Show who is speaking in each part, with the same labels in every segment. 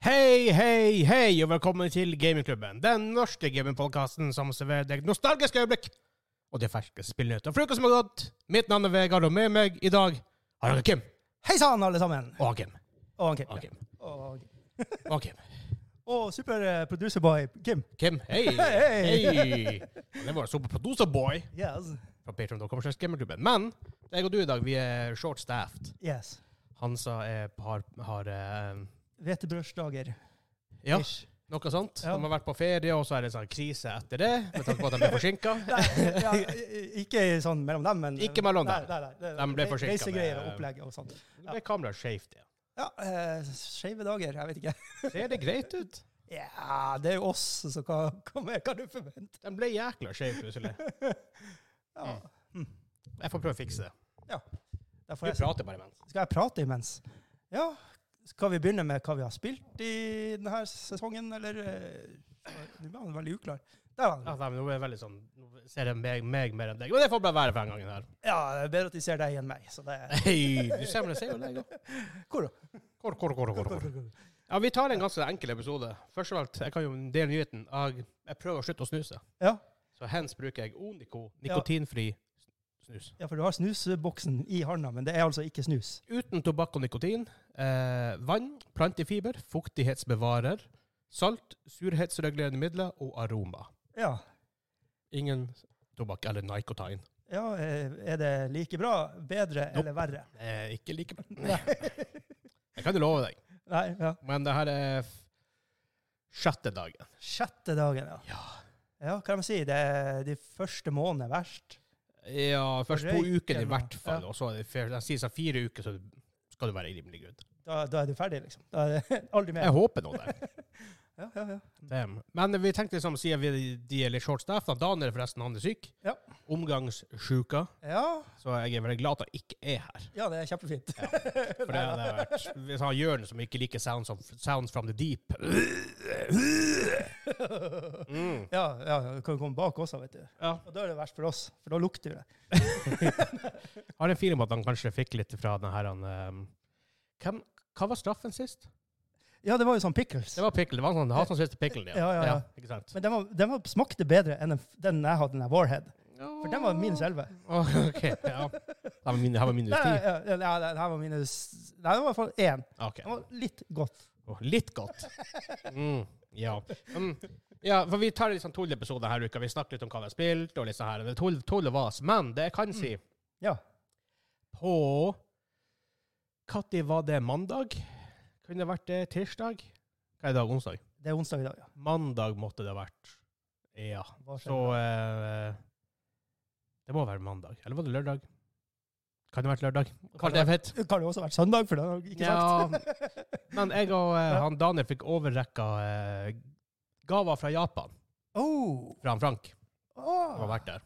Speaker 1: Hei, hei, hei, og velkommen til Gamingklubben. Den norske gamingpodkasten som serverer deg nostalgiske øyeblikk og de ferske spillnyhetene fra uka som har gått. Mitt navn er Vegard, og med meg i dag har jeg Kim.
Speaker 2: Hei sann, alle sammen!
Speaker 1: Og Kim.
Speaker 2: Og han Kim.
Speaker 1: Og
Speaker 2: ja.
Speaker 1: Kim.
Speaker 2: Og,
Speaker 1: Og Kim.
Speaker 2: og superproducerboy Kim.
Speaker 1: Kim. Hei.
Speaker 2: Hei.
Speaker 1: Og Det var superproducer-boy
Speaker 2: Yes.
Speaker 1: fra Patreon.com slags Gamingklubben. Men jeg og du i dag, vi er short-staffed.
Speaker 2: yes.
Speaker 1: Hansa er, har, har eh,
Speaker 2: Hvetebrødsdager.
Speaker 1: Ja,
Speaker 2: Ish.
Speaker 1: noe sånt.
Speaker 2: Ja.
Speaker 1: De har vært på ferie, og så er det en sånn krise etter det, med tanke på at de ble forsinka.
Speaker 2: Nei, ja, i- ikke sånn mellom dem, men
Speaker 1: Ikke mellom
Speaker 2: nei,
Speaker 1: dem.
Speaker 2: Nei, nei, det-
Speaker 1: De ble
Speaker 2: re-
Speaker 1: forsinket eh,
Speaker 2: Reisegreier
Speaker 1: med-
Speaker 2: og opplegg og sånt.
Speaker 1: Det ble kameraet skeivt igjen.
Speaker 2: Ja, eh, skeive dager. Jeg vet ikke.
Speaker 1: Ser det greit ut?
Speaker 2: Ja, det er jo oss, så hva, hva mer kan du forvente?
Speaker 1: Den ble jækla skjev plutselig. Mm.
Speaker 2: Ja.
Speaker 1: Jeg får prøve å fikse det.
Speaker 2: Derfor
Speaker 1: Du
Speaker 2: jeg,
Speaker 1: prater bare imens.
Speaker 2: skal jeg prate imens? Ja. Skal vi begynne med hva vi har spilt i denne sesongen, eller eh, Nå ble han veldig uklar. Der var han.
Speaker 1: Ja, nei, men nå er jeg veldig sånn Nå ser jeg meg, meg mer enn deg. Men det får bare være for en gang her.
Speaker 2: Ja, det er bedre at de ser deg enn meg. Så det er
Speaker 1: Hei, du ser meg, jeg ser jo deg òg.
Speaker 2: Hvor da?
Speaker 1: Kor, kor, kor, kor, kor. Ja, vi tar en ganske enkel episode. Først av alt, jeg kan jo dele nyheten. Jeg, jeg prøver å slutte å snuse.
Speaker 2: Ja.
Speaker 1: Så hens bruker jeg Onico nikotinfri snus.
Speaker 2: ja, for du har snusboksen i handa, men det er altså ikke snus.
Speaker 1: Uten tobakk og nikotin. Eh, vann, plantefiber, fuktighetsbevarer, salt, surhetsregulerende midler og aroma.
Speaker 2: Ja.
Speaker 1: Ingen tobakk eller nikotin.
Speaker 2: ja eh, er det like bra, bedre eller verre?
Speaker 1: Eh, ikke likevel.
Speaker 2: Nei.
Speaker 1: Jeg kan jo love deg.
Speaker 2: Nei, ja.
Speaker 1: Men det her er f- sjette dagen.
Speaker 2: Sjette dagen, ja.
Speaker 1: Ja.
Speaker 2: Ja, hva kan man si? Det er de første månedene er verst.
Speaker 1: Ja, først to
Speaker 2: Røyken,
Speaker 1: uker i
Speaker 2: da.
Speaker 1: hvert fall. Og så er det fer- de sier sånn fire uker, så skal du være i rimelig grunn.
Speaker 2: Da, da er du ferdig, liksom. Da er det aldri mer.
Speaker 1: Jeg håper nå det.
Speaker 2: Ja, ja, ja.
Speaker 1: Damn. Men vi tenkte liksom, siden vi de er litt short staff, da Daniel forresten, han er syk.
Speaker 2: Ja.
Speaker 1: Omgangssjuka.
Speaker 2: Ja,
Speaker 1: Så jeg er veldig glad at han ikke er her.
Speaker 2: ja det er kjempefint.
Speaker 1: Ja, For det hadde vært Hvis han gjør det som ikke liker sounds, of, sounds from the deep mm.
Speaker 2: Ja, ja, du kan jo komme bak også, vet du.
Speaker 1: Ja.
Speaker 2: Og da er det verst for oss, for da lukter det.
Speaker 1: Jeg har en feeling om at han kanskje fikk litt fra den her han, ehm, hvem, Hva var straffen sist?
Speaker 2: Ja, det var jo sånn pickles.
Speaker 1: Det var pickle. Det var sånn, han som siste pickle.
Speaker 2: Ja, ja, ja.
Speaker 1: ikke sant?
Speaker 2: Men den, var, den var, smakte bedre enn den, den jeg hadde, den der Warhead. For den var minus 11.
Speaker 1: Åh, ok, ja. Det var min- det her var minus
Speaker 2: Nei,
Speaker 1: 10.
Speaker 2: ja, ja, ja, den her var minus Nei, det var i hvert fall én.
Speaker 1: Ok.
Speaker 2: Den var litt godt.
Speaker 1: Åh, litt godt. Mm, ja. Mm. ja, for vi tar liksom tolv episoder her i uka. Vi snakker litt om hva vi har spilt, og litt sånn her. Det er tolv- tolv og vas. Men det jeg kan si
Speaker 2: Mm. Ja.
Speaker 1: på Når var det mandag? Kunne det vært det tirsdag? Hva er i dag? Onsdag?
Speaker 2: Det er onsdag i dag, ja.
Speaker 1: Mandag måtte det ha vært. Ja.
Speaker 2: Hva skjedde
Speaker 1: Så
Speaker 2: da?
Speaker 1: eh, Det må være mandag. Eller var det lørdag? Kan det ha vært lørdag? Kan det ha vært?
Speaker 2: Det kan jo også ha vært søndag, for det har jeg ikke sagt.
Speaker 1: Men jeg og eh,
Speaker 2: Ja.
Speaker 1: han Daniel fikk overrekka eh, gaver fra Japan,
Speaker 2: Oh.
Speaker 1: fra han Frank, som har
Speaker 2: Oh.
Speaker 1: vært der.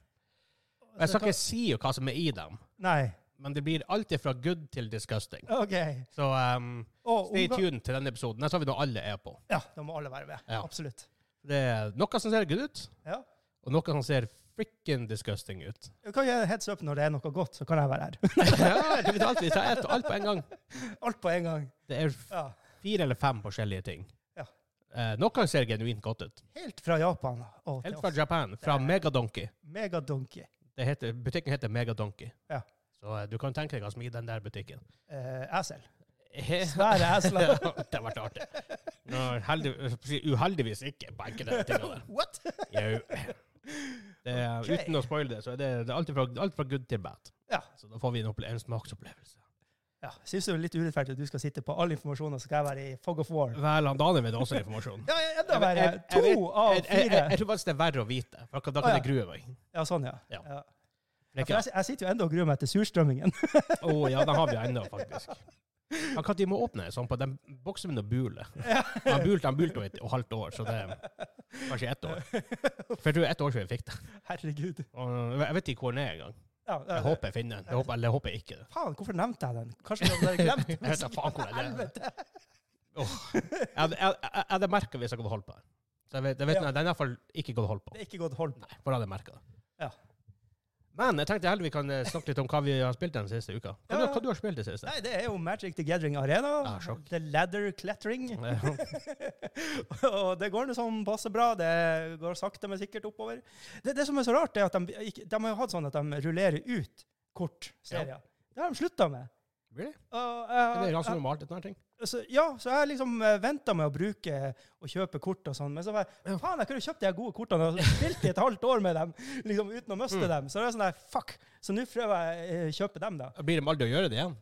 Speaker 2: Ah,
Speaker 1: Jeg skal ikke si jo hva som er i dem,
Speaker 2: Nei.
Speaker 1: men det blir alltid fra good til disgusting.
Speaker 2: OK.
Speaker 1: Så ehm,
Speaker 2: Og
Speaker 1: stay
Speaker 2: omga-
Speaker 1: tuned til denne episoden. Den tar vi når alle er på.
Speaker 2: Ja, da må alle være med.
Speaker 1: Ja.
Speaker 2: Absolutt.
Speaker 1: Det er noe som ser good ut,
Speaker 2: Ja.
Speaker 1: og noe som ser frikken disgusting ut.
Speaker 2: Du kan gi heads up når det er noe godt, så kan jeg være her.
Speaker 1: ja, det betyr alltid, ta ett og alt på en gang.
Speaker 2: Alt på en gang.
Speaker 1: Det er f-
Speaker 2: Ja.
Speaker 1: fire eller fem forskjellige ting.
Speaker 2: Ja.
Speaker 1: Eh, noen ser genuint godt ut.
Speaker 2: Helt fra Japan og til
Speaker 1: Helt fra
Speaker 2: oss.
Speaker 1: Japan, fra Megadonkey.
Speaker 2: Megadonkey.
Speaker 1: Det heter, butikken heter Megadonkey.
Speaker 2: Ja.
Speaker 1: Så eh, du kan tenke deg hva som er i den der butikken.
Speaker 2: Eh, esel.
Speaker 1: He-
Speaker 2: Svære esler.
Speaker 1: det har vært artig. Nå, heldig, eh, uheldigvis ikke på enkelte tingene der.
Speaker 2: What?
Speaker 1: Jau. Det er,
Speaker 2: Ok.
Speaker 1: Uten å spoile det, så er det, det er alt, fra, alt fra good til bad.
Speaker 2: Ja.
Speaker 1: Så da får vi en, opple en smaksopplevelse.
Speaker 2: Ja, jeg synes det er litt urettferdig at du skal sitte på all informasjon, og så skal jeg være i fog of war.
Speaker 1: Vel, han Daniel vet også informasjon.
Speaker 2: Ja, jeg- enda verre.
Speaker 1: Jeg- jeg- jeg vet-
Speaker 2: To av
Speaker 1: Jeg, jeg, jeg,
Speaker 2: Ah, fire.
Speaker 1: jeg tror faktisk det er verre å vite, for da
Speaker 2: Å,
Speaker 1: kan
Speaker 2: ja.
Speaker 1: jeg grue meg.
Speaker 2: Ja, sånn, ja.
Speaker 1: Ja.
Speaker 2: ja.
Speaker 1: Det er
Speaker 2: For
Speaker 1: ikke-
Speaker 2: jeg, jeg sitter jo enda og gruer meg til surstrømmingen.
Speaker 1: Å ja, den har vi ennå, faktisk. Ja, Når de må åpne sånn på den boksen min og bule. Han bulte han bulte jo et og halvt år, så det er kanskje ett år. For jeg tror det er ett år siden vi fikk det.
Speaker 2: Herregud.
Speaker 1: Og jeg vet ikke hvor den er engang.
Speaker 2: Ja, ja,
Speaker 1: Jeg håper jeg finner den. Jeg håper, eller jeg håper jeg ikke det.
Speaker 2: Faen, hvorfor nevnte jeg den? Kanskje du hadde glemt
Speaker 1: Jeg vet da faen hvor den er.
Speaker 2: Helvete.
Speaker 1: Jeg hadde- jeg- jeg hadde merka hvis jeg hadde holdt på den. Så jeg vet, jeg vet,
Speaker 2: Ja.
Speaker 1: Den er i hvert fall ikke gått holdt på.
Speaker 2: Det er ikke godt hold på.
Speaker 1: Nei, for da hadde jeg merket det.
Speaker 2: Ja.
Speaker 1: Men jeg tenkte heller vi kan eh, snakke litt om hva vi har spilt den siste uka. Hva,
Speaker 2: Ja,
Speaker 1: du,
Speaker 2: ja.
Speaker 1: hva du har spilt den siste?
Speaker 2: Nei, det er jo Magic the Gathering Arena.
Speaker 1: Ja, Ah, sjokk.
Speaker 2: the Ladder Clattering.
Speaker 1: Eh,
Speaker 2: og det går nå sånn passe bra. Det går sakte, men sikkert oppover. Det, det som er så rart, er at de, ikke- de har jo hatt sånn at de rullerer ut kortserier. Det har de slutta med.
Speaker 1: Really?
Speaker 2: Og,
Speaker 1: Det
Speaker 2: eh,
Speaker 1: er ganske
Speaker 2: eh,
Speaker 1: normalt, denne her ting.
Speaker 2: så, ja, så jeg liksom venta med å bruke og kjøpe kort og sånn. Men så var jeg faen, jeg kunne jo kjøpt de her gode kortene og spilt i et halvt år med dem liksom uten å miste
Speaker 1: Mm.
Speaker 2: dem. Så det er sånn der, fuck. Så nå prøver jeg eh, kjøpe dem, da.
Speaker 1: Blir de aldri å gjøre det igjen?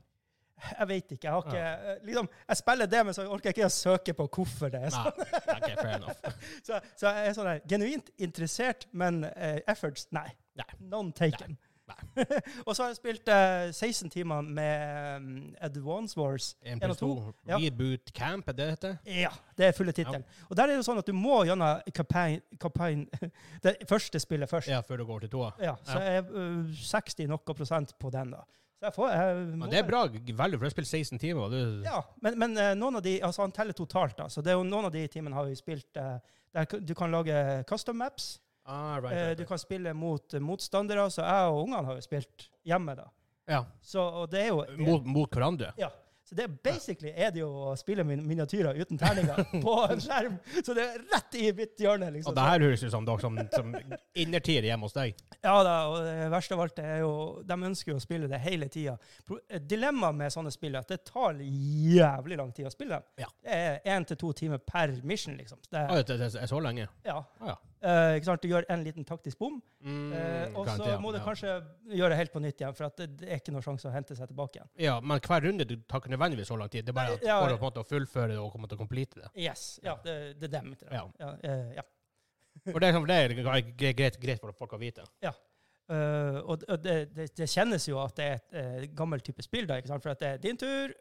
Speaker 2: Jeg vet ikke. Jeg har ikke liksom, Jeg spiller det, men så orker jeg ikke å søke på hvorfor det er
Speaker 1: Nei.
Speaker 2: sånn.
Speaker 1: ok, fair enough.
Speaker 2: Så, så jeg er sånn der, genuint interessert, men eh, efforts, nei.
Speaker 1: Nei.
Speaker 2: None taken.
Speaker 1: Nei.
Speaker 2: og så har jeg spilt eh, 16 timer med um, Advance Wars.
Speaker 1: En
Speaker 2: En og
Speaker 1: pluss to.
Speaker 2: ja.
Speaker 1: Reboot camp, er det det heter?
Speaker 2: Ja, det er fulle tittelen. Og der er det jo sånn at du må gjennom campaign, campaign det første spillet først. Ja.
Speaker 1: Ja, før du går til toa.
Speaker 2: så jeg er eh, 60 noe prosent på den, da. Så jeg får jeg, må-
Speaker 1: Men det er bra value, for du har spilt 16 timer. og Du,
Speaker 2: Ja, men, men eh, noen av de Altså, han teller totalt, da. Så det er jo noen av de timene har vi spilt eh, der k- du kan lage custom maps.
Speaker 1: Ah, right,
Speaker 2: Eh,
Speaker 1: right,
Speaker 2: Du
Speaker 1: right.
Speaker 2: kan spille mot eh, motstandere, så jeg og ungene har jo spilt hjemme, da.
Speaker 1: Ja.
Speaker 2: Så og det er jo
Speaker 1: Øh, Mot, mot hverandre.
Speaker 2: Ja. Så det er basically er det jo å spille min miniatyrer uten terninger på en skjerm. Så det er rett i mitt hjørne,
Speaker 1: Og
Speaker 2: liksom.
Speaker 1: det her høres ut som, dere som, som innertier hjemme hos deg.
Speaker 2: Ja da, og det verste av alt er jo De ønsker jo å spille det hele tida. Dilemmaet med sånne spill er at det tar jævlig lang tid å spille dem.
Speaker 1: Ja.
Speaker 2: Det er én til to timer per mission, liksom. Det
Speaker 1: Ah,
Speaker 2: er,
Speaker 1: det, det, det er så lenge.
Speaker 2: ja.
Speaker 1: Ah, ja.
Speaker 2: Eh, ikke sant? Du gjør en liten taktisk bom,
Speaker 1: Mm,
Speaker 2: eh, og så
Speaker 1: garantert,
Speaker 2: må du
Speaker 1: ja.
Speaker 2: kanskje gjøre det helt på nytt igjen, for at det, det er ikke noen sjanse å hente seg tilbake igjen.
Speaker 1: Ja, men hver runde du tar ikke nødvendigvis så lang tid. Det er bare at
Speaker 2: Ja, ja.
Speaker 1: for å på en måte å fullføre det og komme til å complete det.
Speaker 2: Yes. Ja, det, det er dem.
Speaker 1: Ja.
Speaker 2: Ja, eh, ja.
Speaker 1: For det er, sånn- det er gre- greit, greit for folk å vite.
Speaker 2: Eh, og og det, det, det kjennes jo at det er et eh, gammel type spill, da, ikke sant? for at det er din tur,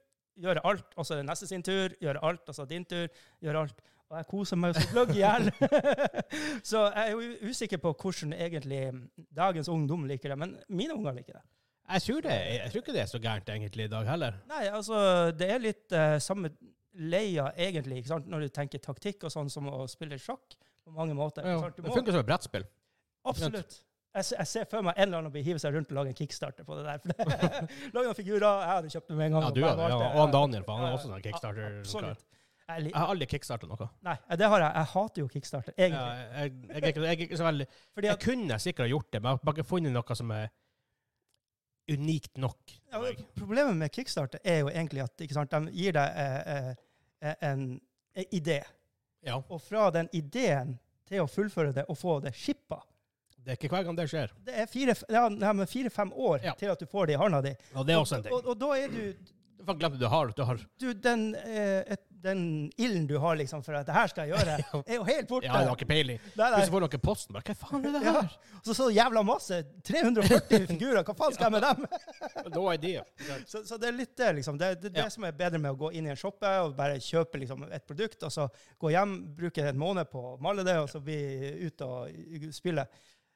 Speaker 2: gjøre alt, og så er det neste sin tur, gjøre alt, og så din tur, gjøre alt. Og jeg koser meg som gløgg i hjel. så jeg er jo u- usikker på hvordan egentlig dagens ungdom liker det, men mine unger liker det.
Speaker 1: Jeg tror, det, jeg tror ikke det er så gærent egentlig i dag heller.
Speaker 2: Nei, altså, det er litt eh, samme leia egentlig, ikke sant? når du tenker taktikk og sånn som å spille sjakk på mange måter.
Speaker 1: Ja,
Speaker 2: ikke sant? Du
Speaker 1: det
Speaker 2: må-
Speaker 1: funker som et brettspill.
Speaker 2: Absolutt. Jeg, se- jeg ser for meg en eller annen bli hive seg rundt og lage en kickstarter på det der. For det, lage noen figurer. Jeg hadde kjøpt dem med en gang.
Speaker 1: Ja, du
Speaker 2: bare
Speaker 1: gjør det. Ja.
Speaker 2: valgte.
Speaker 1: Og han Daniel, for han er
Speaker 2: Ja,
Speaker 1: også sånn kickstarter. Ah.
Speaker 2: Absolutt. Jeg,
Speaker 1: Jeg
Speaker 2: li-
Speaker 1: har aldri kickstarta noe.
Speaker 2: nei, det har jeg. Jeg hater jo kickstarter,
Speaker 1: Ja,
Speaker 2: egentlig.
Speaker 1: jeg, jeg, er ikke- jeg, er ikke så veldig
Speaker 2: Fordi
Speaker 1: Jeg
Speaker 2: at,
Speaker 1: kunne sikkert ha gjort det, men jeg har bare ikke funnet noe som er unikt nok.
Speaker 2: ja, men problemet med kickstarter er jo egentlig at ikke sant, de gir deg eh, eh, en, en idé.
Speaker 1: Ja,
Speaker 2: Og fra den ideen til å fullføre det og få det shippa
Speaker 1: Det er ikke hver gang det skjer.
Speaker 2: Det er fire-fem ja, nei, men fire-fem år
Speaker 1: Ja.
Speaker 2: til at du får det i handa di.
Speaker 1: Og det er også en ting.
Speaker 2: Og, og da er du
Speaker 1: Folk glemte du har, du har
Speaker 2: du, den, eh, et, den ilden du har liksom for at det her skal jeg gjøre, er jo helt borte.
Speaker 1: Ja, du har ikke peiling.
Speaker 2: Nei, nei.
Speaker 1: Hvis du får noe i posten, bare Hva faen er det her?
Speaker 2: Ja. Så så jævla masse. 340 figurer, hva faen skal jeg med dem?
Speaker 1: No idea.
Speaker 2: Så, så det er litt det, liksom. Det, det, det
Speaker 1: Ja.
Speaker 2: som er bedre med å gå inn i en shoppe og bare kjøpe liksom, et produkt, og så gå hjem, bruke en måned på å male det, og så bli ute og spille.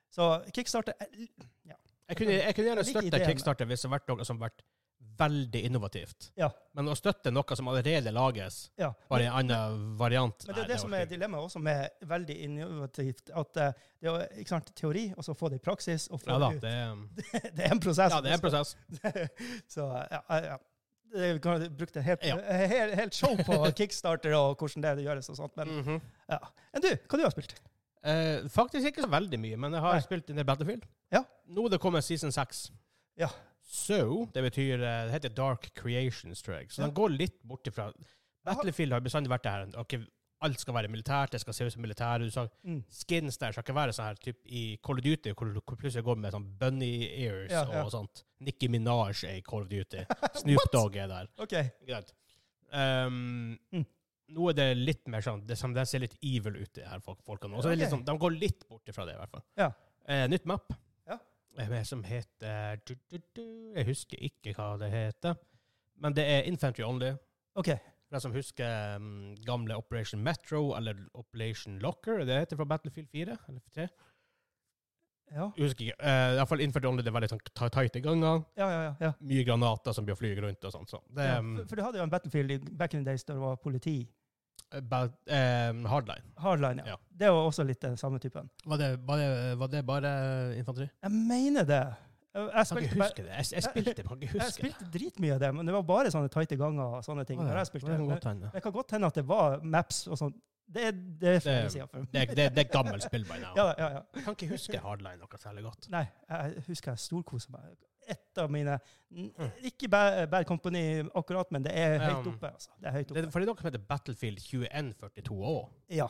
Speaker 2: Så kickstarter eh,
Speaker 1: Jeg kunne, jeg kunne gjerne
Speaker 2: Jeg liker
Speaker 1: støtte
Speaker 2: ideen.
Speaker 1: Kickstarter hvis det hadde vært noe som hadde vært veldig innovativt.
Speaker 2: Ja.
Speaker 1: Men å støtte noe som allerede lages,
Speaker 2: Ja.
Speaker 1: bare i en annen variant
Speaker 2: Men det er
Speaker 1: nei,
Speaker 2: det som er
Speaker 1: orker jeg
Speaker 2: dilemmaet også med veldig innovativt. At eh, det er jo, ikke sant, teori, og så få det i praksis, og
Speaker 1: ikke.
Speaker 2: få
Speaker 1: ja, da,
Speaker 2: det ut.
Speaker 1: det, er-
Speaker 2: Det er en prosess.
Speaker 1: ja, det er en prosess.
Speaker 2: Så ja, ja, ja. Jeg kan- brukte en helt,
Speaker 1: Ja.
Speaker 2: eh, helt, helt show på kickstarter og hvordan det gjøres og sånt. Men,
Speaker 1: Mhm.
Speaker 2: ja. men du, hva du har spilt?
Speaker 1: eh, faktisk ikke så veldig mye, men jeg har
Speaker 2: Nei.
Speaker 1: spilt en del Battlefield.
Speaker 2: Ja.
Speaker 1: Nå det kommer season 6.
Speaker 2: Ja.
Speaker 1: So, det betyr eh, Det heter Dark Creations, tror jeg. Så
Speaker 2: Ja.
Speaker 1: den går litt bort ifra Battlefield har bestandig vært det her. Ok, alt skal være militært, det skal se ut som militæret. Du sa
Speaker 2: Mm.
Speaker 1: skins der skal ikke være sånn her typ, i Call of Duty, hvor du plutselig går med sånn bunny ears
Speaker 2: Ja, ja.
Speaker 1: og sånt. Nicki Minaj er i Call of Duty. Snoop Dogg er der.
Speaker 2: OK.
Speaker 1: Greit. Um,
Speaker 2: Mm.
Speaker 1: Nå er det litt mer sånn det, som, det ser litt evil ut, de her folk, folkene. Og så er det litt
Speaker 2: Ok.
Speaker 1: sånn, de går litt bort ifra det, i hvert fall.
Speaker 2: Ja.
Speaker 1: Eh, nytt map.
Speaker 2: Ja.
Speaker 1: Eh, som heter du, du, du, Jeg husker ikke hva det heter. Men det er Infantry Only.
Speaker 2: ok.
Speaker 1: For de som husker mm, gamle Operation Metro eller Operation Locker, det heter fra Battlefield 4 eller 3.
Speaker 2: Ja,
Speaker 1: Jeg husker ikke. Eh, i hvert fall Infantry Only, det er veldig sånn ta- tighte ganger.
Speaker 2: ja, ja. ja, ja.
Speaker 1: Mye granater som blir å fly rundt og sånt. Så. Det,
Speaker 2: ja.
Speaker 1: mm,
Speaker 2: For, for du hadde jo en Battlefield i back in the days da det var politi.
Speaker 1: bat, eh, hardline.
Speaker 2: Hardline, ja.
Speaker 1: Ja.
Speaker 2: Det var også litt den samme typen.
Speaker 1: Var det, var det, var det bare infanteri?
Speaker 2: Jeg mener det. Jeg, jeg
Speaker 1: Kan
Speaker 2: spilte
Speaker 1: ikke
Speaker 2: bare-
Speaker 1: huske det. Jeg, jeg spilte, kan ikke huske
Speaker 2: Jeg
Speaker 1: det.
Speaker 2: spilte dritmye av det, men det var bare sånne tighte ganger og sånne ting.
Speaker 1: Å, ja.
Speaker 2: når jeg spilte.
Speaker 1: Det kan
Speaker 2: Men
Speaker 1: godt hende.
Speaker 2: det kan godt hende at det var maps og sånn. Det, det er flere
Speaker 1: Det-
Speaker 2: sider for meg.
Speaker 1: Det, det, det er gammelt spill by now.
Speaker 2: Ja, ja, ja.
Speaker 1: Jeg kan ikke huske Hardline noe særlig godt.
Speaker 2: Nei, jeg husker jeg storkosa meg. Et av mine n- Ikke Bad, bad Company akkurat, men det er høyt
Speaker 1: Ja.
Speaker 2: oppe. altså. Det er høyt
Speaker 1: Det,
Speaker 2: oppe.
Speaker 1: for det er noe som heter Battlefield 2142 òg.
Speaker 2: Ja,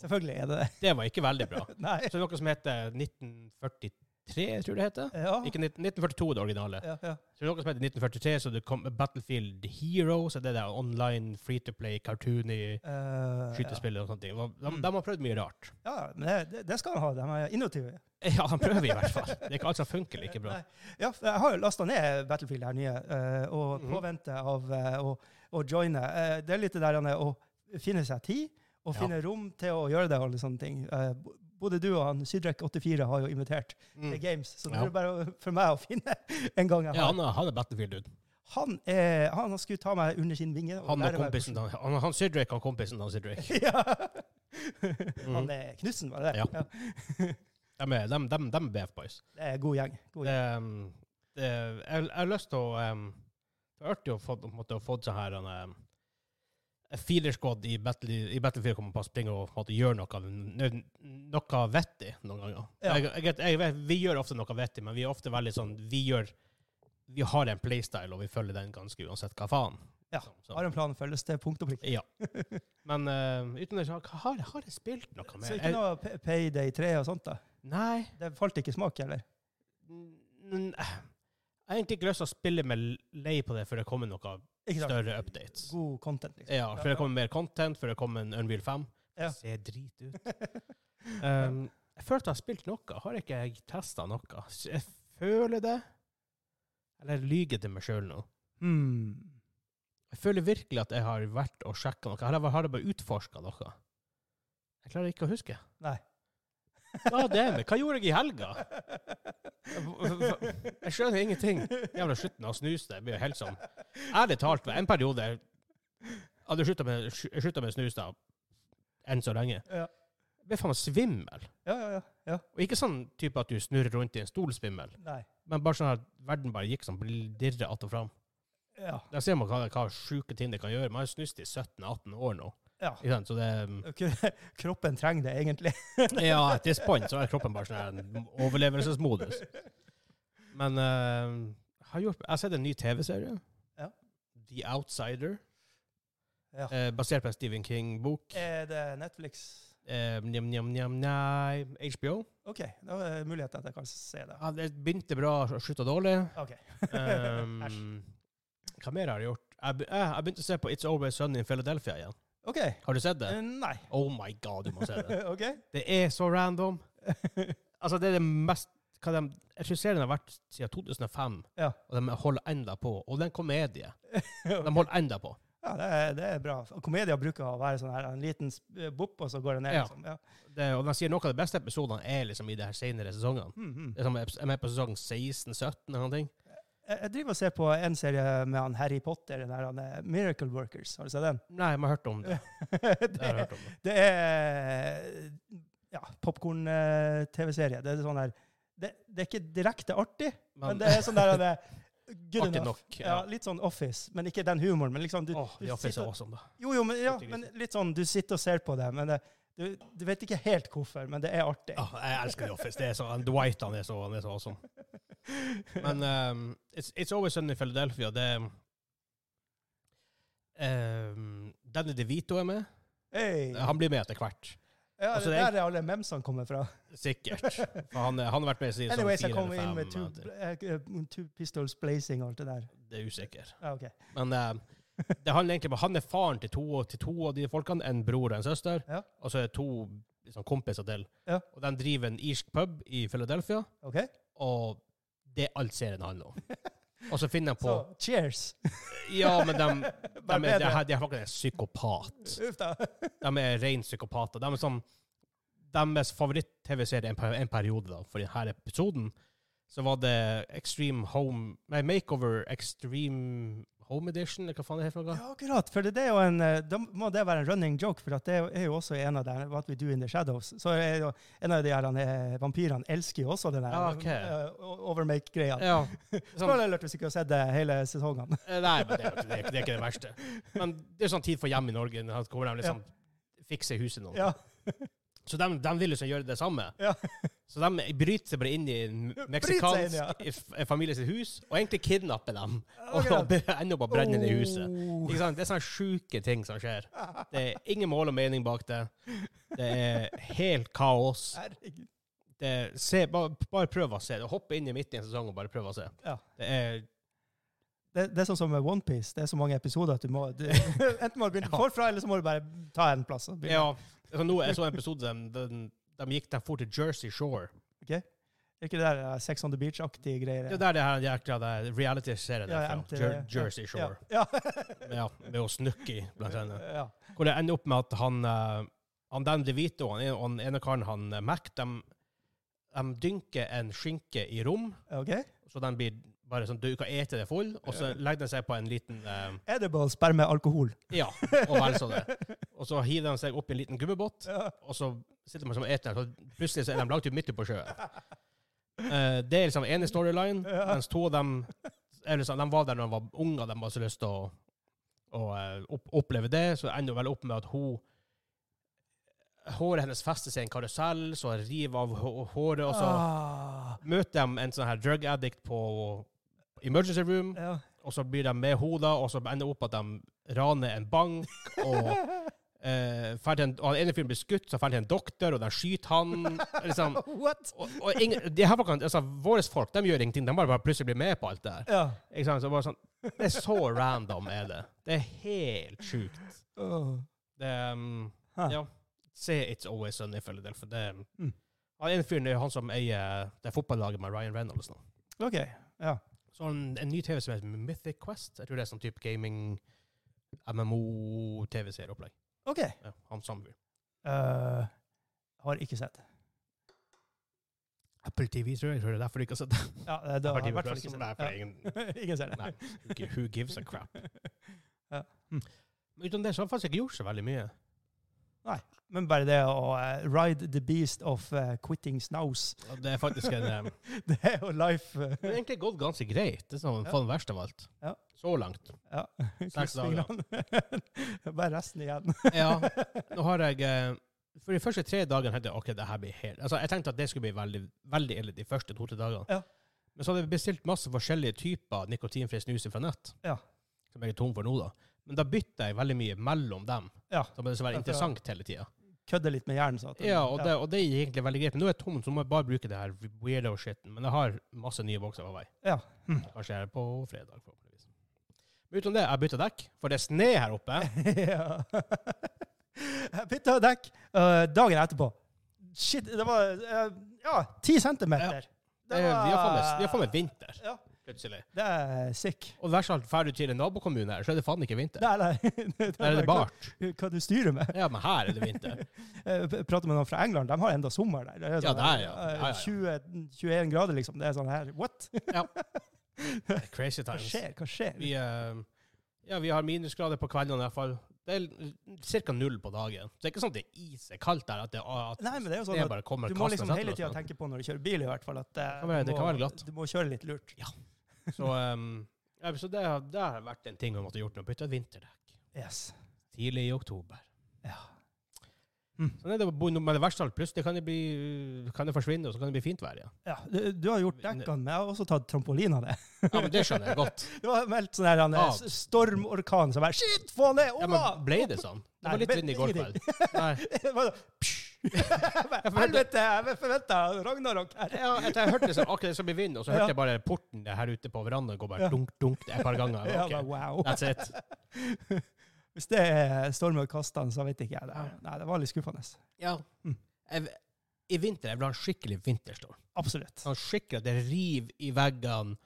Speaker 2: selvfølgelig er det det.
Speaker 1: Det var ikke veldig bra.
Speaker 2: Nei.
Speaker 1: Så det er noe som heter 1943, jeg tror det heter.
Speaker 2: Ja.
Speaker 1: Ikke 19, 1942, det originale.
Speaker 2: Ja, ja.
Speaker 1: Så det er noe som heter 1943, så det kom Battlefield Heroes, det der online free to play, cartoony
Speaker 2: Eh,
Speaker 1: skytespill og sånne ting. De,
Speaker 2: Mm.
Speaker 1: de har prøvd mye rart.
Speaker 2: Ja, ja men det, det- det skal han ha. De er innovative.
Speaker 1: Ja, de prøver i hvert fall. Det er ikke alt som funker like bra.
Speaker 2: Nei. Ja, for jeg har jo lasta ned Battlefield her nye, eh, og
Speaker 1: Mhm.
Speaker 2: påvente av eh, å- å joine. Eh, det er litt det der Anne, å finne seg tid, og
Speaker 1: Ja.
Speaker 2: finne rom til å gjøre det. og alle sånne ting. Eh, bo- både du og han Sydrek84 har jo invitert til games, så det
Speaker 1: Mm. Ja.
Speaker 2: er bare å- for meg å finne en gang jeg
Speaker 1: Ja,
Speaker 2: har.
Speaker 1: han er, han er Battlefield-dude.
Speaker 2: Han, er, han skulle ta meg under sin
Speaker 1: Han
Speaker 2: vinge.
Speaker 1: og
Speaker 2: lære meg
Speaker 1: kompisen hans. Han, han Sydrake og kompisen hans Sydrake.
Speaker 2: hvordan- ja. Han er Knutsen, var det det?
Speaker 1: Mm. Ja. De er, de, de, de er BF Boys.
Speaker 2: Det er god gjeng. God gjeng.
Speaker 1: Det, um, det, jeg, jeg har lyst til å um, Det er artig å få på en måte, å få sånn her en, um, en feeler squad i, battle, i Battlefield kommer på å springe og på en måte, gjøre noe, nø- noe vettig noen ganger.
Speaker 2: Ja.
Speaker 1: Jeg, jeg, jeg, vet- vi gjør ofte noe vettig, men vi er ofte veldig sånn Vi gjør vi har en playstyle, og vi følger den ganske uansett hva faen.
Speaker 2: Ja.
Speaker 1: Så- så-
Speaker 2: Har en plan følges til punkt og prikk.
Speaker 1: Ja. Men uh, uten det så har, har jeg spilt noe mer?
Speaker 2: Så ikke
Speaker 1: Jeg-
Speaker 2: noe Pay- Payday 3 og sånt, da?
Speaker 1: Nei.
Speaker 2: Det falt ikke i smak, eller?
Speaker 1: N- Jeg har egentlig ikke lyst til å spille meg lei på det før det kommer noe
Speaker 2: Ikke sant?
Speaker 1: større updates.
Speaker 2: God content, liksom.
Speaker 1: Ja, før det kommer mer content, før det kommer en Unreal 5.
Speaker 2: Ja.
Speaker 1: Det ser drit ut. Um, jeg følte jeg har spilt noe. Har ikke jeg testa noe? S- Jeg føler det. Eller jeg lyver til meg sjøl nå.
Speaker 2: Hmm.
Speaker 1: Jeg føler virkelig at jeg har vært og sjekka noe. Eller har jeg bare utforska noe? Jeg klarer ikke å huske.
Speaker 2: Nei.
Speaker 1: Ja, det er meg. Hva gjorde jeg i helga? Jeg skjønner ingenting. Jævla slutten av snus, det blir jo helt sånn Ærlig talt, en periode hadde jeg slutta med, jeg sluttet med snus da, enn så lenge.
Speaker 2: Ja.
Speaker 1: Jeg ble faen meg svimmel.
Speaker 2: Ja, ja, ja. ja.
Speaker 1: Og ikke sånn type at du snurrer rundt i en stol svimmel,
Speaker 2: Nei.
Speaker 1: men bare sånn at verden bare gikk sånn dirre att og fram.
Speaker 2: Ja.
Speaker 1: Der ser man hva, hva sjuke ting det kan gjøre. Man har snust i 17-18 år nå.
Speaker 2: ja.
Speaker 1: Ikke sant? Så det
Speaker 2: K- Kroppen trenger det egentlig.
Speaker 1: Ja, at this point så er kroppen bare sånn her en overlevelsesmodus. Men eh, har gjort, jeg har sett en ny TV-serie.
Speaker 2: Ja.
Speaker 1: The Outsider.
Speaker 2: Ja.
Speaker 1: eh, basert på en Stephen King-bok.
Speaker 2: Er det Netflix?
Speaker 1: Eh, njam, njam, njam, nei, HBO.
Speaker 2: OK, da er det mulighet at jeg kan se det.
Speaker 1: Ja, det begynte bra, slutta dårlig.
Speaker 2: OK.
Speaker 1: Um, hva mer har jeg gjort? Jeg, be- eh, jeg begynte å se på It's Always Sunny in Philadelphia igjen.
Speaker 2: OK.
Speaker 1: Har du sett det?
Speaker 2: Eh, Nei.
Speaker 1: Oh my god, du må se det.
Speaker 2: OK?
Speaker 1: Det er så random. Altså, det er det mest hva de, Jeg tror serien har vært siden 2005,
Speaker 2: Ja.
Speaker 1: og de holder enda på. Og det er en komedie.
Speaker 2: Ja,
Speaker 1: De holder enda på.
Speaker 2: det er, det er bra. Komedier bruker å være sånn her, en liten sp- bopp, og så går det ned.
Speaker 1: Ja.
Speaker 2: Liksom. Ja.
Speaker 1: Det, og de sier noe av de beste episodene er liksom i de her senere sesongene.
Speaker 2: Hmm, hmm.
Speaker 1: Det er som- Jeg er med på sesong 16-17 eller noe. ting.
Speaker 2: Jeg jeg driver og ser på en serie med han Harry Potter, den der han, eh, Miracle Workers. Har du sett den?
Speaker 1: Nei, jeg har hørt om det.
Speaker 2: det,
Speaker 1: Jeg har hørt om det.
Speaker 2: Det er ja, popkorn-TV-serie. Det er sånn der det, det er ikke direkte artig, men,
Speaker 1: Men,
Speaker 2: det er sånn der det er good
Speaker 1: Artig
Speaker 2: enough.
Speaker 1: nok,
Speaker 2: ja.
Speaker 1: ja.
Speaker 2: litt sånn Office, men ikke den humoren. Men liksom du,
Speaker 1: Åh,
Speaker 2: du
Speaker 1: The Office er
Speaker 2: sitter,
Speaker 1: awesome, da.
Speaker 2: jo, jo, men, ja,
Speaker 1: Fytti
Speaker 2: men
Speaker 1: grisen.
Speaker 2: litt sånn du sitter og ser på det, men det, du, du vet ikke helt hvorfor, men det er artig.
Speaker 1: Ja, jeg elsker The Office. Det er så, han Dwight han er så, han er så awesome. Men ehm, it's, it's Always Sunny in Philadelphia. Det um, Danny DeVito er med.
Speaker 2: Hey. Ja,
Speaker 1: Han blir med etter hvert. altså,
Speaker 2: det
Speaker 1: det er-
Speaker 2: der er alle memsene kommer fra.
Speaker 1: Sikkert. For han, han har vært med siden
Speaker 2: Anyways,
Speaker 1: sånn
Speaker 2: jeg
Speaker 1: fire
Speaker 2: kommer inn
Speaker 1: eller
Speaker 2: med two,
Speaker 1: fem. at
Speaker 2: eh, two pistols blazing og alt det der.
Speaker 1: Det er usikker.
Speaker 2: Ja, ok.
Speaker 1: Men eh, det handler egentlig om han er faren til to, til to av de folkene. En bror og en søster.
Speaker 2: Ja.
Speaker 1: Og så er det to liksom, kompiser til.
Speaker 2: Ja.
Speaker 1: Og de driver en irsk pub i Philadelphia,
Speaker 2: Ok?
Speaker 1: og det er alt serien handler om. Og så finner de på
Speaker 2: Så cheers!
Speaker 1: Ja, men de, de,
Speaker 2: Bare
Speaker 1: er, de,
Speaker 2: bedre.
Speaker 1: her- de er faktisk en psykopat.
Speaker 2: Uff da.
Speaker 1: De er ren psykopater. De er sånn Deres favoritt-TV-serie en, per- en periode, da, for denne episoden, så var det Extreme Home Nei, Makeover Extreme Home Edition, eller hva faen det er for noe?
Speaker 2: Ja, akkurat. For det er jo en, eh, da må det være en running joke, for at det er jo- er jo også en av de What We Do in the Shadows. Så er jo, en av de her eh, vampyrene elsker jo også den der
Speaker 1: Ja, ok.
Speaker 2: eh, overmake-greia.
Speaker 1: Ja. Sånn,
Speaker 2: Spoiler alert hvis ikke har sett det hele sesongen.
Speaker 1: eh, nei, men det er, jo ikke- det, er, ikke- det er ikke det verste. Men det er sånn tid for hjem i Norge. Når han kommer de liksom fikser huset nå.
Speaker 2: ja.
Speaker 1: Så de, de vil liksom gjøre det samme.
Speaker 2: Ja.
Speaker 1: Så de bryter seg bare inn i en
Speaker 2: Bryter seg
Speaker 1: meksikansk
Speaker 2: inn, ja.
Speaker 1: f- familie sitt hus, og egentlig kidnapper dem. Og
Speaker 2: Akkurat.
Speaker 1: be- ender opp med å brenne ned huset.
Speaker 2: Oh.
Speaker 1: Ikke sant? Det er sånne sjuke ting som skjer. Det er ingen mål og mening bak det. Det er helt kaos.
Speaker 2: Herregud.
Speaker 1: Det er, se, bare, bare prøv å se det. Hopp inn i midten i en sesong og bare prøv å se.
Speaker 2: Ja.
Speaker 1: Det er,
Speaker 2: Det, det er sånn som med Onepiece. Det er så mange episoder at du må du, Enten må du begynne
Speaker 1: Ja.
Speaker 2: forfra, eller så må du bare ta en plass. og begynne.
Speaker 1: ja, altså, nå, jeg så en episode der de, de, de gikk de for til Jersey Shore.
Speaker 2: Det er ikke det der eh, Sex on the Beach-aktige greier.
Speaker 1: Det er der det her jækla der reality-serien
Speaker 2: Ja,
Speaker 1: er
Speaker 2: ja,
Speaker 1: fra.
Speaker 2: MTV,
Speaker 1: Jer
Speaker 2: ja.
Speaker 1: Jersey Shore.
Speaker 2: Ja.
Speaker 1: Ja, med å snukke i, blant annet.
Speaker 2: Eh, ja.
Speaker 1: Hvor det ender opp med at han, eh, han Dan DeVito og han ene- han ene karen, han eh, Mac, de, de dynker en skinke i rom,
Speaker 2: OK.
Speaker 1: så den blir bare sånn, du kan ete det full, og så legger den seg på en liten, eh,
Speaker 2: Edible sperme alkohol.
Speaker 1: ja, og vel så det. Og så hiver de seg opp i en liten gummibåt,
Speaker 2: Ja.
Speaker 1: og så sitter man som eter, så plutselig så er de langt ut midt ute på sjøen. Eh, det er liksom ene storyline,
Speaker 2: Ja.
Speaker 1: mens to av dem, er liksom, de var der når de var unge, og de hadde så lyst til å, å eh, opp, oppleve det, så ender hun vel opp med at hun, håret hennes fester seg i en karusell, så river av hå- håret, og så
Speaker 2: Ah.
Speaker 1: møter de en sånn her drug addict på emergency room,
Speaker 2: Ja.
Speaker 1: og så blir de med hodet, og så ender opp at de raner en bank, og eh, fer til en, og den ene fyren blir skutt, så drar til en doktor, og de skyter han. liksom,
Speaker 2: What?
Speaker 1: og, og ingen, de her folkene, altså, våre folk de gjør ingenting, de bare, bare plutselig blir med på alt det her.
Speaker 2: Ja.
Speaker 1: Ikke sant? Så bare sånn, det er så random, er det. Det er helt sjukt.
Speaker 2: Åh.
Speaker 1: Det, um,
Speaker 2: Hæ.
Speaker 1: ja. Se It's Always Sunny, følger del, for det um,
Speaker 2: Mm.
Speaker 1: Han ene fyren er jo han som eier det fotballaget med Ryan Reynolds nå.
Speaker 2: OK. Ja.
Speaker 1: Så har han en ny TV som heter Mythic Quest. Jeg tror det er sånn type gaming, MMO-TV-serieopplegg.
Speaker 2: OK.
Speaker 1: Ja, han samme fyr.
Speaker 2: Eh, har ikke sett.
Speaker 1: Apple TV, tror jeg. Jeg tror det er derfor du ikke har sett det.
Speaker 2: Ja, det, det har jeg i hvert fall ikke
Speaker 1: Apple TV Plus,
Speaker 2: sett.
Speaker 1: Nei, for ingen,
Speaker 2: Ja. Ingen ser det.
Speaker 1: Nei. who- who gives a crap?
Speaker 2: Ja. Mm.
Speaker 1: Men utenom det så har han faktisk ikke gjort så veldig mye.
Speaker 2: Men bare det å eh, ride the beast of eh, quitting snows,
Speaker 1: Og Det er faktisk en eh,
Speaker 2: det er jo life. eh,
Speaker 1: Det har egentlig gått ganske greit. Det er sånn
Speaker 2: Ja.
Speaker 1: faen verst av alt.
Speaker 2: Ja.
Speaker 1: Så langt.
Speaker 2: ja.
Speaker 1: Seks dager.
Speaker 2: Kryssfingrene. bare resten igjen.
Speaker 1: Ja. Nå har jeg eh, For de første tre dagene tenkte jeg ok, det her blir helt Altså, jeg tenkte at det skulle bli veldig, veldig ille de første to-tre dagene.
Speaker 2: Ja.
Speaker 1: Men så hadde jeg bestilt masse forskjellige typer nikotinfri snus fra nett.
Speaker 2: Ja.
Speaker 1: Som jeg er tom for nå, da. Men da bytta jeg veldig mye mellom dem.
Speaker 2: Ja.
Speaker 1: Så må det så
Speaker 2: Ja,
Speaker 1: være
Speaker 2: for-
Speaker 1: interessant hele tida.
Speaker 2: Kødde litt med hjernen. sånn at-
Speaker 1: Ja, og det, og det gikk egentlig veldig greit. Men nå er jeg tom, så nå må jeg bare bruke det her weirdo-shitten. Men jeg har masse nye bokser på vei.
Speaker 2: Ja. Hm.
Speaker 1: Kanskje jeg er på fredag, forhåpentligvis. Men utenom det, jeg bytta dekk, for det er sne her oppe.
Speaker 2: ja. Jeg bytta dekk eh, dagen etterpå. Shit, det var eh, Ja, ti centimeter.
Speaker 1: Det er, vi har faen meg- vi har faen meg vinter,
Speaker 2: Ja,
Speaker 1: plutselig.
Speaker 2: det er sick.
Speaker 1: Og verst av alt, drar du til en nabokommune her, så er det faen ikke vinter.
Speaker 2: Nei, nei. Det
Speaker 1: Der er det
Speaker 2: bare
Speaker 1: bart.
Speaker 2: hva, hva du styrer med.
Speaker 1: Ja, men her er det vinter.
Speaker 2: Jeg p- prater med noen fra England, de har enda sommer der. Det er
Speaker 1: Ja,
Speaker 2: sånn,
Speaker 1: der, ja. Ja,
Speaker 2: eh,
Speaker 1: ja, ja.
Speaker 2: 20, 21 grader, liksom. Det er sånn her What?
Speaker 1: Det er Crazy
Speaker 2: Hva
Speaker 1: times.
Speaker 2: skjer? Hva skjer?
Speaker 1: altså, Vi, eh, ja, vi har minusgrader på kveldene i hvert fall. Det er ca. null på dagen. Så det er ikke sånn at det er isekaldt der, at det, at
Speaker 2: Nei, men det er jo sånn
Speaker 1: det
Speaker 2: at
Speaker 1: bare kommer
Speaker 2: du må liksom hele tida tenke på når du kjører bil, i hvert fall, at eh,
Speaker 1: altså. kan være-
Speaker 2: du
Speaker 1: det kan
Speaker 2: må-
Speaker 1: være glatt.
Speaker 2: du må kjøre litt lurt.
Speaker 1: Så, um, ja, så det, har- det har vært en ting vi måtte gjort nå. Bytte et vinterdekk.
Speaker 2: Yes.
Speaker 1: Tidlig i oktober. Mm.
Speaker 2: Ja.
Speaker 1: Så det, er det, bo- men det verste av alt, plutselig kan det, bli, kan det forsvinne, og så kan det bli fint vær igjen.
Speaker 2: Ja, du, du har gjort dekkene, men jeg har også tatt trampolina det.
Speaker 1: Ja, men det skjønner jeg godt.
Speaker 2: Det var meldt sånn her han,
Speaker 1: Ah.
Speaker 2: s- stormorkan som bare Shit, få ned!
Speaker 1: Ja,
Speaker 2: Oma!
Speaker 1: men ble det sånn? Det
Speaker 2: Nei,
Speaker 1: var litt
Speaker 2: men-
Speaker 1: vind i går kveld. Nei.
Speaker 2: Det var sånn, psh! Jeg bare,
Speaker 1: for det-
Speaker 2: Helvete, jeg forventa ragnarok her.
Speaker 1: Ja, etter jeg hørte det som, akkurat det som ble vind, og så hørte
Speaker 2: Ja.
Speaker 1: jeg bare porten her ute på verandaen gå bare
Speaker 2: Ja.
Speaker 1: dunk, dunk et par ganger.
Speaker 2: Jeg
Speaker 1: Jeg
Speaker 2: bare,
Speaker 1: var,
Speaker 2: wow.
Speaker 1: Ok, that's it.
Speaker 2: Hvis det er storm og kastene, så vet ikke jeg. Det,
Speaker 1: Ja.
Speaker 2: nei, det var litt skuffende.
Speaker 1: Ja.
Speaker 2: Mm.
Speaker 1: Jeg, I vinter jeg vil ha en skikkelig vinterstorm.
Speaker 2: Absolutt.
Speaker 1: Sånn skikkelig at det river i veggene.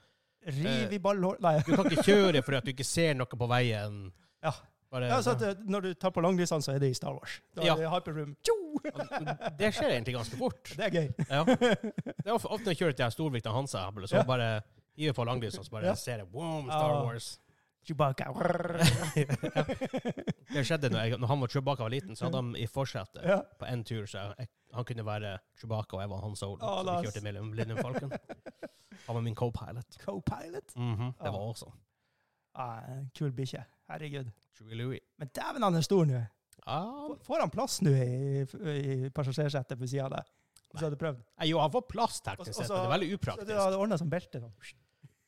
Speaker 2: Riv
Speaker 1: Eh,
Speaker 2: i ballhår... Nei.
Speaker 1: Du kan ikke kjøre fordi at du ikke ser noe på veien.
Speaker 2: Ja.
Speaker 1: Bare, sånn,
Speaker 2: Ja, så at, eh, når du tar på langdistanse, så er det i Star Wars. Da
Speaker 1: Ja.
Speaker 2: er det hyperroom. Tjo!
Speaker 1: det skjer egentlig ganske fort.
Speaker 2: Det er gøy.
Speaker 1: Ja. Det er ofte ofte når jeg kjører til Storvikta Hansa, så
Speaker 2: Ja.
Speaker 1: bare hiver på langdistanse, så bare
Speaker 2: Ja.
Speaker 1: ser jeg boom, Star
Speaker 2: Ah.
Speaker 1: Wars.
Speaker 2: Chewbacca.
Speaker 1: Det skjedde når, jeg, når han og Chewbacca var liten, så hadde han i forsetet
Speaker 2: ja.
Speaker 1: på en tur så jeg, han kunne være Chewbacca, og jeg var Han Solo. så
Speaker 2: Å,
Speaker 1: vi
Speaker 2: Ah, nice.
Speaker 1: kjørte mellom Millennium Falcon. Han var min co-pilot.
Speaker 2: Co-pilot.
Speaker 1: Mhm, Det var
Speaker 2: Ja.
Speaker 1: også
Speaker 2: Ah, en kul bikkje. Herregud.
Speaker 1: Chewie Louie. Ah,
Speaker 2: Men dæven, han er stor nå.
Speaker 1: Ja,
Speaker 2: Får- Får han plass nå i, i passasjersetet ved sida av deg? Hvis du hadde prøvd.
Speaker 1: Nei, jo, han får plass teknisk
Speaker 2: Og-
Speaker 1: sett,
Speaker 2: og så-
Speaker 1: men det er veldig
Speaker 2: Så du
Speaker 1: upraktisk.
Speaker 2: hadde ordna som belte? Sånn.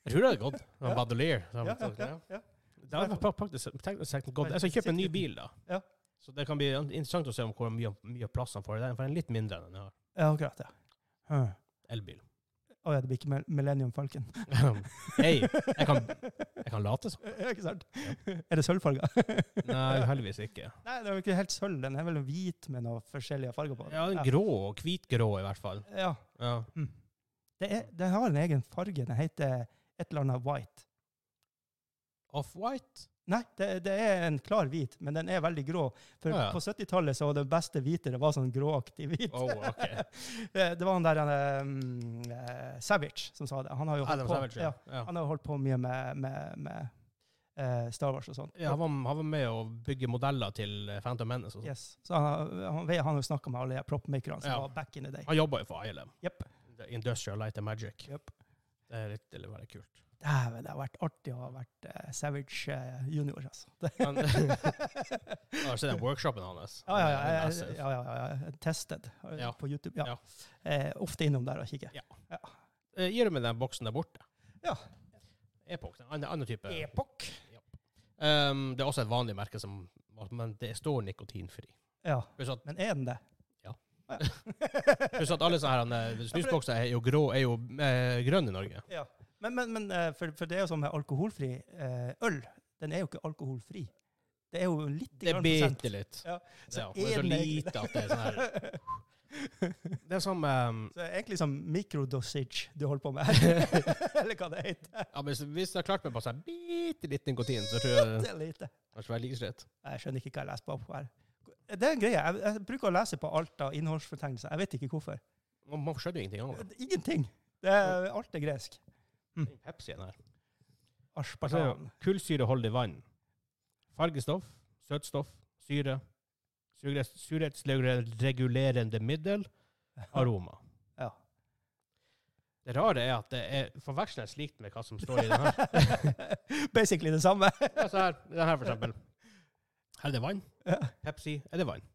Speaker 1: Jeg tror det hadde gått. Det var
Speaker 2: Ja.
Speaker 1: Badelier. så han-
Speaker 2: Ja, ja, ja, ja.
Speaker 1: Det hadde vært praktisk teknisk sett godt.
Speaker 2: Nei,
Speaker 1: Jeg skal kjøpe en ny
Speaker 2: sikkert.
Speaker 1: bil, da.
Speaker 2: Ja.
Speaker 1: Så det kan bli interessant å se om hvor mye, mye plass han får. Den får en litt mindre enn en
Speaker 2: ja akkurat, ja. Huh.
Speaker 1: elbil.
Speaker 2: Å ja, det blir ikke Mil- Millennium Falcon.
Speaker 1: Hei, jeg kan, jeg kan late som.
Speaker 2: Ja, ikke sant? Er det sølvfarga?
Speaker 1: Nei, heldigvis ikke.
Speaker 2: Nei, det er jo ikke helt sølv. Den er vel hvit med noen forskjellige farger på. den.
Speaker 1: Ja, en grå og hvitgrå i hvert fall.
Speaker 2: Ja.
Speaker 1: Ja.
Speaker 2: Mm. Det, er, det har en egen farge. Den heter et eller annet white.
Speaker 1: Off-white?
Speaker 2: Nei, det, det er en klar hvit, men den er veldig grå. For
Speaker 1: Ja, ja.
Speaker 2: på 70-tallet så var det beste hvite det var sånn gråaktig hvit.
Speaker 1: Oh, ok.
Speaker 2: det det var han der um, eh, Savage som sa det. Han har jo holdt,
Speaker 1: Adam
Speaker 2: på,
Speaker 1: Ah, Savage, ja.
Speaker 2: ja,
Speaker 1: Ja.
Speaker 2: han har jo holdt på mye med, med, med eh, Star Wars og sånt.
Speaker 1: Ja, han, var, han var med å bygge modeller til eh, Phantom Menace. Og sånt.
Speaker 2: Yes. Så han, han, han har jo snakka med alle de propmakerne som
Speaker 1: Ja.
Speaker 2: var back in the day.
Speaker 1: han jobba jo for ILM.
Speaker 2: Jepp.
Speaker 1: The Industrial Light and Magic.
Speaker 2: Jepp.
Speaker 1: Det er litt, det er veldig kult.
Speaker 2: Dæven, det har vært artig å ha vært eh, Savage eh, junior, altså. Det-
Speaker 1: Han- Jeg har sett den workshopen hans.
Speaker 2: Ja, ja, ja.
Speaker 1: Den er
Speaker 2: Jeg,
Speaker 1: massive.
Speaker 2: ja, ja, ja, jeg Tested eh,
Speaker 1: Ja.
Speaker 2: på YouTube. Ja.
Speaker 1: Ja.
Speaker 2: Eh, ofte innom der og kikker.
Speaker 1: Eh, Gir du meg den boksen der borte?
Speaker 2: Ja.
Speaker 1: Epoch. En annen, annen type.
Speaker 2: Epoch.
Speaker 1: Ehm, det er også et vanlig merke, som, men det står nikotinfri.
Speaker 2: Ja.
Speaker 1: Pluss at,
Speaker 2: Men er den det?
Speaker 1: Ja.
Speaker 2: Ah,
Speaker 1: pluss at alle sånne her, eh, snusbokser er jo grå, er jo eh, grønne i Norge.
Speaker 2: ja. Men, men, men eh, for, for det er jo sånn med alkoholfri eh, øl. Den er jo ikke alkoholfri. Det er jo litt
Speaker 1: Det
Speaker 2: grann prosent.
Speaker 1: biter litt.
Speaker 2: Ja,
Speaker 1: Det er- men det er så
Speaker 2: er det-
Speaker 1: lite at det er sånn her. Det er som ehm,
Speaker 2: Så det er egentlig sånn mikrodosage du holder på med her. Eller hva det heter.
Speaker 1: ja, hvis, hvis jeg har klart meg på sånn bitte litt nikotin, så tror jeg
Speaker 2: Det er lite.
Speaker 1: det er like slett.
Speaker 2: Jeg skjønner ikke hva jeg leser på her. Det er en greie. Jeg, jeg bruker å lese på alt av innholdsfortegnelser. Jeg vet ikke hvorfor.
Speaker 1: Man, man skjønner jo ingenting annet.
Speaker 2: Ingenting. Det er, alt er gresk. Mm.
Speaker 1: Pepsi her.
Speaker 2: Aspartan.
Speaker 1: Kullsyreholdig vann. Fargestoff, søtstoff, syre, surhets- surhetsregulerende middel, aroma.
Speaker 2: Ja.
Speaker 1: Det rare er at det er forvekslende slikt med hva som står i den her.
Speaker 2: Basically det samme.
Speaker 1: Ja, så her, den her for eksempel. Her er det vann.
Speaker 2: Ja.
Speaker 1: Pepsi er det vann.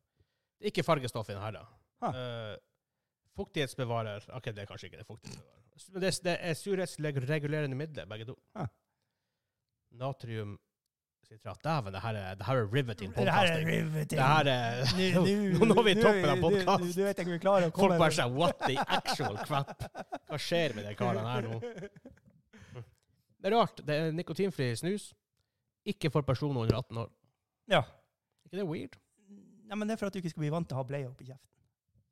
Speaker 1: Det er ikke fargestoff i den her da.
Speaker 2: Ha.
Speaker 1: Eh, fuktighetsbevarer, ok, det er kanskje ikke det fuktighetsbevarer. Men det, det er surhetsregulerende midler, begge to.
Speaker 2: Ha.
Speaker 1: Natrium, sitrat. Dæven, det her er, det her er riveting
Speaker 2: Det her er
Speaker 1: podcasting.
Speaker 2: riveting.
Speaker 1: Det her er...
Speaker 2: Nå- nå-
Speaker 1: Nå når vi
Speaker 2: nå-
Speaker 1: topper av
Speaker 2: nå-
Speaker 1: podcast.
Speaker 2: nå- nå vet jeg ikke om vi klarer å
Speaker 1: Folk
Speaker 2: komme
Speaker 1: bare sier, what the actual crap? Hva skjer med de karene her nå? Det er rart. Det er nikotinfri snus. Ikke for personer under 18 år.
Speaker 2: Ja.
Speaker 1: Ikke det weird?
Speaker 2: Nei, men det er for at du ikke skal bli vant til å ha bleie oppi kjeften.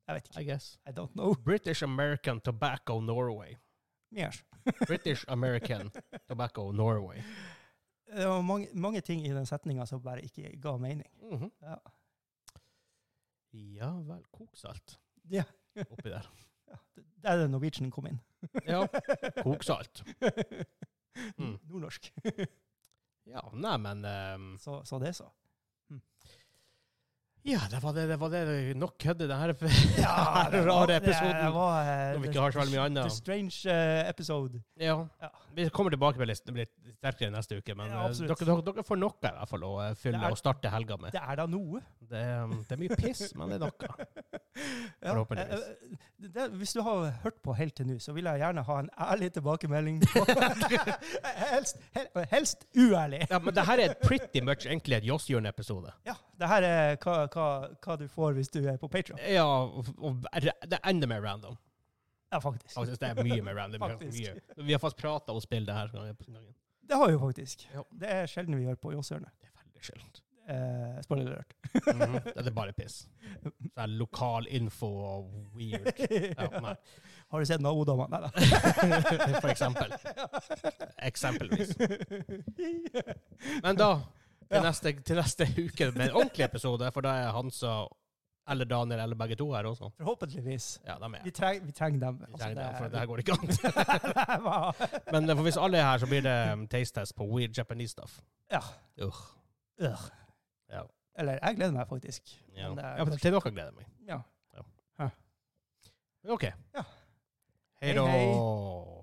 Speaker 2: Jeg vet ikke.
Speaker 1: I guess.
Speaker 2: I don't know.
Speaker 1: British American Tobacco Norway.
Speaker 2: Mer.
Speaker 1: British American Tobacco Norway.
Speaker 2: Det var mange, mange ting i den setninga som bare ikke ga mening.
Speaker 1: Mhm.
Speaker 2: Ja.
Speaker 1: Ja vel. Koksalt
Speaker 2: Ja.
Speaker 1: oppi der.
Speaker 2: Det er det Norwegian kom inn.
Speaker 1: Ja, koksalt. Mm.
Speaker 2: Nordnorsk.
Speaker 1: Ja, nei, men ehm,
Speaker 2: Så, så det, så.
Speaker 1: Ja, det var det. det, var det. Nok kødde det her rare
Speaker 2: Det
Speaker 1: episoden.
Speaker 2: var eh,
Speaker 1: Når vi
Speaker 2: the-
Speaker 1: ikke har så veldig mye annet.
Speaker 2: The Strange eh, Episode.
Speaker 1: Ja.
Speaker 2: Ja.
Speaker 1: Vi kommer tilbake med listen. Det blir litt sterkere neste uke, men
Speaker 2: Ja,
Speaker 1: eh,
Speaker 2: absolutt.
Speaker 1: dere, dere, dere får noe i hvert fall å eh, fylle
Speaker 2: Det er-
Speaker 1: og starte helga med.
Speaker 2: Det er da noe.
Speaker 1: Det, er, um, det er mye piss, men det er noe.
Speaker 2: Ja,
Speaker 1: Forhåpentligvis.
Speaker 2: eh, eh, Det, hvis du har hørt på helt til nå, så vil jeg gjerne ha en ærlig tilbakemelding. På, helst, hel, helst uærlig.
Speaker 1: Ja, men det her er pretty much egentlig et Jåsshjørn-episode.
Speaker 2: Ja, det her er hva, hva, hva du får hvis du er på Patreon.
Speaker 1: Ja, og og det er enda mer random.
Speaker 2: Ja, faktisk.
Speaker 1: Faktisk, det er mye mer random.
Speaker 2: Faktisk.
Speaker 1: Mye. Vi har faktisk prata og spilt det her. gangen.
Speaker 2: Det har vi jo faktisk.
Speaker 1: Ja.
Speaker 2: Det er sjelden vi gjør på Jåssørene.
Speaker 1: Det er veldig sjeldent.
Speaker 2: Eh, spoiler alert.
Speaker 1: Mhm. Det er bare piss. Så er lokal info og weird. Ja, nei.
Speaker 2: Har du sett nabodama? Nei da.
Speaker 1: For eksempel. Eksempelvis. Men da, til, neste, til neste uke med en ordentlig episode, for da er Hansa Eller Daniel, eller begge to her også.
Speaker 2: Forhåpentligvis.
Speaker 1: Ja, de er
Speaker 2: Vi, treng, vi trenger dem.
Speaker 1: Vi trenger det, for det her
Speaker 2: altså, det,
Speaker 1: går ikke an.
Speaker 2: det var
Speaker 1: Men eh, for hvis alle er her, så blir det um, taste test på weird Japanese stuff.
Speaker 2: Ja.
Speaker 1: Ugh.
Speaker 2: øh.
Speaker 1: Ja.
Speaker 2: Eller jeg gleder meg faktisk.
Speaker 1: Ja,
Speaker 2: Men eh, det er
Speaker 1: ja men til dere gleder jeg meg.
Speaker 2: Ja.
Speaker 1: OK.
Speaker 2: Ja.
Speaker 1: Hei
Speaker 2: Hei,
Speaker 1: da.
Speaker 2: hei.